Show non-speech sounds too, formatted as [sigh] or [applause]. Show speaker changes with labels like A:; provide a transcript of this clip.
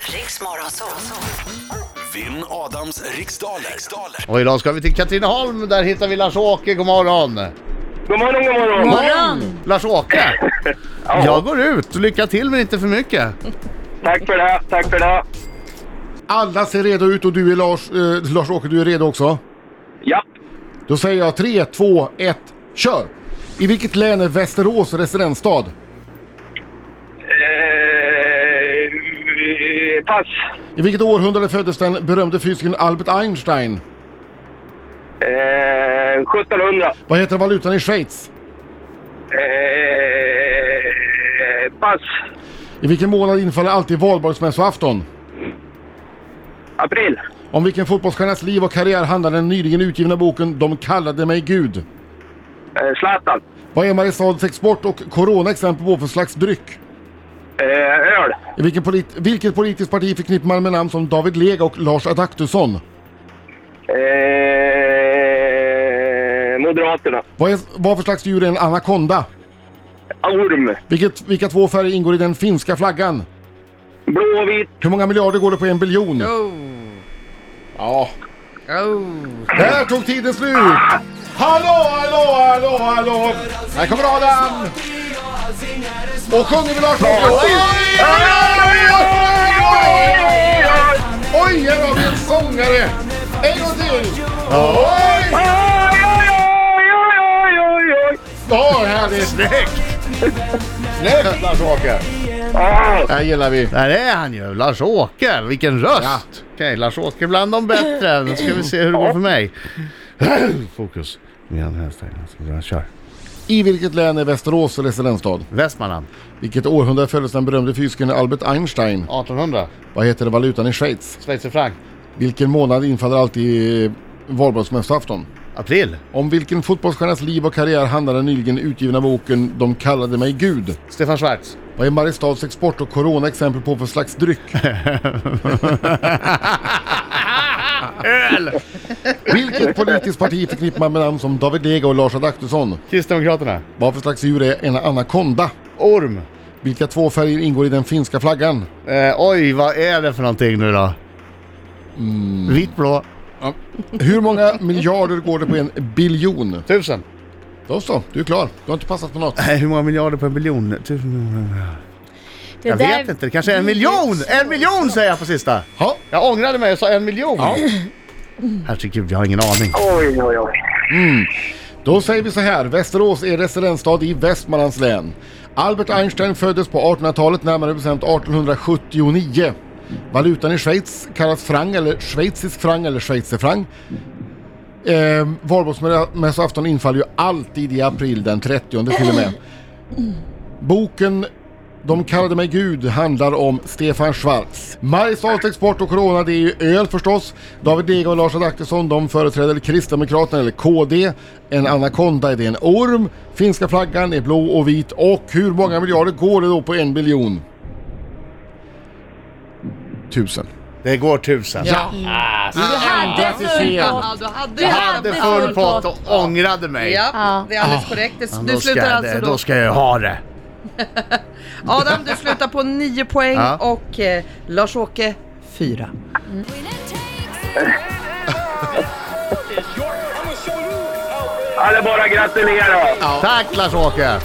A: Riks Morgonzoo.
B: Vinn Adams riksdaler. riksdaler.
C: Och idag ska vi till Katrineholm, där hittar vi Lars-Åke, god morgon.
D: God morgon, god morgon.
E: Morgon!
F: [laughs]
C: Lars-Åke! Jag går ut, lycka till men inte för mycket.
D: Tack för det, tack för det.
F: Alla ser redo ut och du är Lars, eh, Lars-Åke, du är redo också?
D: Ja,
F: Då säger jag 3, 2, 1, kör! I vilket län är Västerås residensstad?
D: eh, pass.
F: I vilket århundrade föddes den berömde fysikern Albert Einstein?
D: Eh, 1700.
F: Vad heter valutan i Schweiz?
D: Eh, pass.
F: I vilken månad infaller alltid valborgsmässoafton?
D: April.
F: Om vilken fotbollsstjärnas liv och karriär handlar den nyligen utgivna boken De kallade mig Gud?
D: Eh, Zlatan.
F: Vad är Mariestads export och corona exempel på för slags dryck?
D: Eh, öl.
F: I vilken polit- vilket politiskt parti förknippar man med namn som David Lega och Lars Adaktusson?
D: Eh, Moderaterna.
F: Vad, är, vad för slags djur är en anakonda?
D: Orm.
F: Vilket, vilka två färger ingår i den finska flaggan?
D: Blå och vit.
F: Hur många miljarder går det på en biljon? Ja. Där tog tiden slut! Hallå, hallå, hallå, hallå! Här kommer Adam! Och sjunger med Lars Åke! Oj, oj, oj, oj, oj! Oj, här har vi en sångare! En gång till! Oj!
D: Oj, oj, oj, oj, oj, oj.
F: Ja, härligt! Snyggt! Snyggt Lars-Åke!
D: Ah,
F: Det här gillar vi.
C: Där är han ju, Lars-Åke, vilken röst!
F: Ja.
C: Okej, Lars-Åke bland de bättre. Nu ska vi se hur det går för
F: [clears throat]
C: mig. Fokus. Igen, hästar, hästar. Kör.
F: I vilket län är Västerås residensstad?
C: Västmanland,
F: Vilket århundrade föddes den berömde fysikern Albert Einstein?
C: 1800.
F: Vad heter valutan i Schweiz?
C: Schweizerfranc.
F: Vilken månad infaller alltid eh, valborgsmässoafton?
C: April.
F: Om vilken fotbollsstjärnas liv och karriär handlar den nyligen utgivna boken De kallade mig Gud?
C: Stefan Schwarz.
F: Vad är Mariestads export och corona exempel på för slags dryck?
C: Öl!
F: Vilket politiskt parti förknippar man med namn som David Lega och Lars Adaktusson?
C: Kristdemokraterna.
F: Vad för slags djur är en anakonda?
C: Orm.
F: Vilka två färger ingår i den finska flaggan?
C: Eh, oj, vad är det för någonting nu då?
F: Mm.
C: Vitt, blå,
F: Hur många miljarder går det på en biljon?
C: tusen.
F: Då så, du är klar. Du har inte passat på något.
C: Nej, Eh, hur många miljarder på en biljon? Tusen miljoner.
E: Det Mm.
C: Jag vet inte, det kanske är en miljon! En miljon säger jag på sista!
F: Ja.
C: Jag ångrade mig och sa en miljon! Herregud, jag har ingen aning.
D: oj, oj, oj.
F: Då säger vi så här, Västerås är residensstad i Västmanlands län. Albert Einstein föddes på 1800-talet, närmare bestämt 1879. Valutan i Schweiz kallas franc eller schweizisk franc eller schweizerfranc. Eh, Valborgsmässoafton infaller ju alltid i april den 30 till och med. Boken De kallade mig Gud handlar om Stefan Schwarz. Mariestads export och corona det är ju öl förstås. David Dega och Lars Adaktusson de företräder Kristdemokraterna eller KD. En anakonda är det en orm. Finska flaggan är blå och vit och hur många miljarder går det då på en biljon? Tusen.
C: Det går tusen.
F: Ja.
E: Du hade full
G: Ja, du hade,
E: Du
C: Jag hade full pott och ångrade mig.
G: Ja, det är alldeles korrekt. Det-
C: Men
G: Du
C: Ah. då, ska
G: slutar
C: jag, det-
G: alltså
C: då
G: då.
C: ska jag ha det.
G: Adam, du slutar på 9 poäng
C: Ja.
G: och eh, Lars-Åke 4.
D: Ja, det är bara att gratulera.
C: Tack Lars-Åke!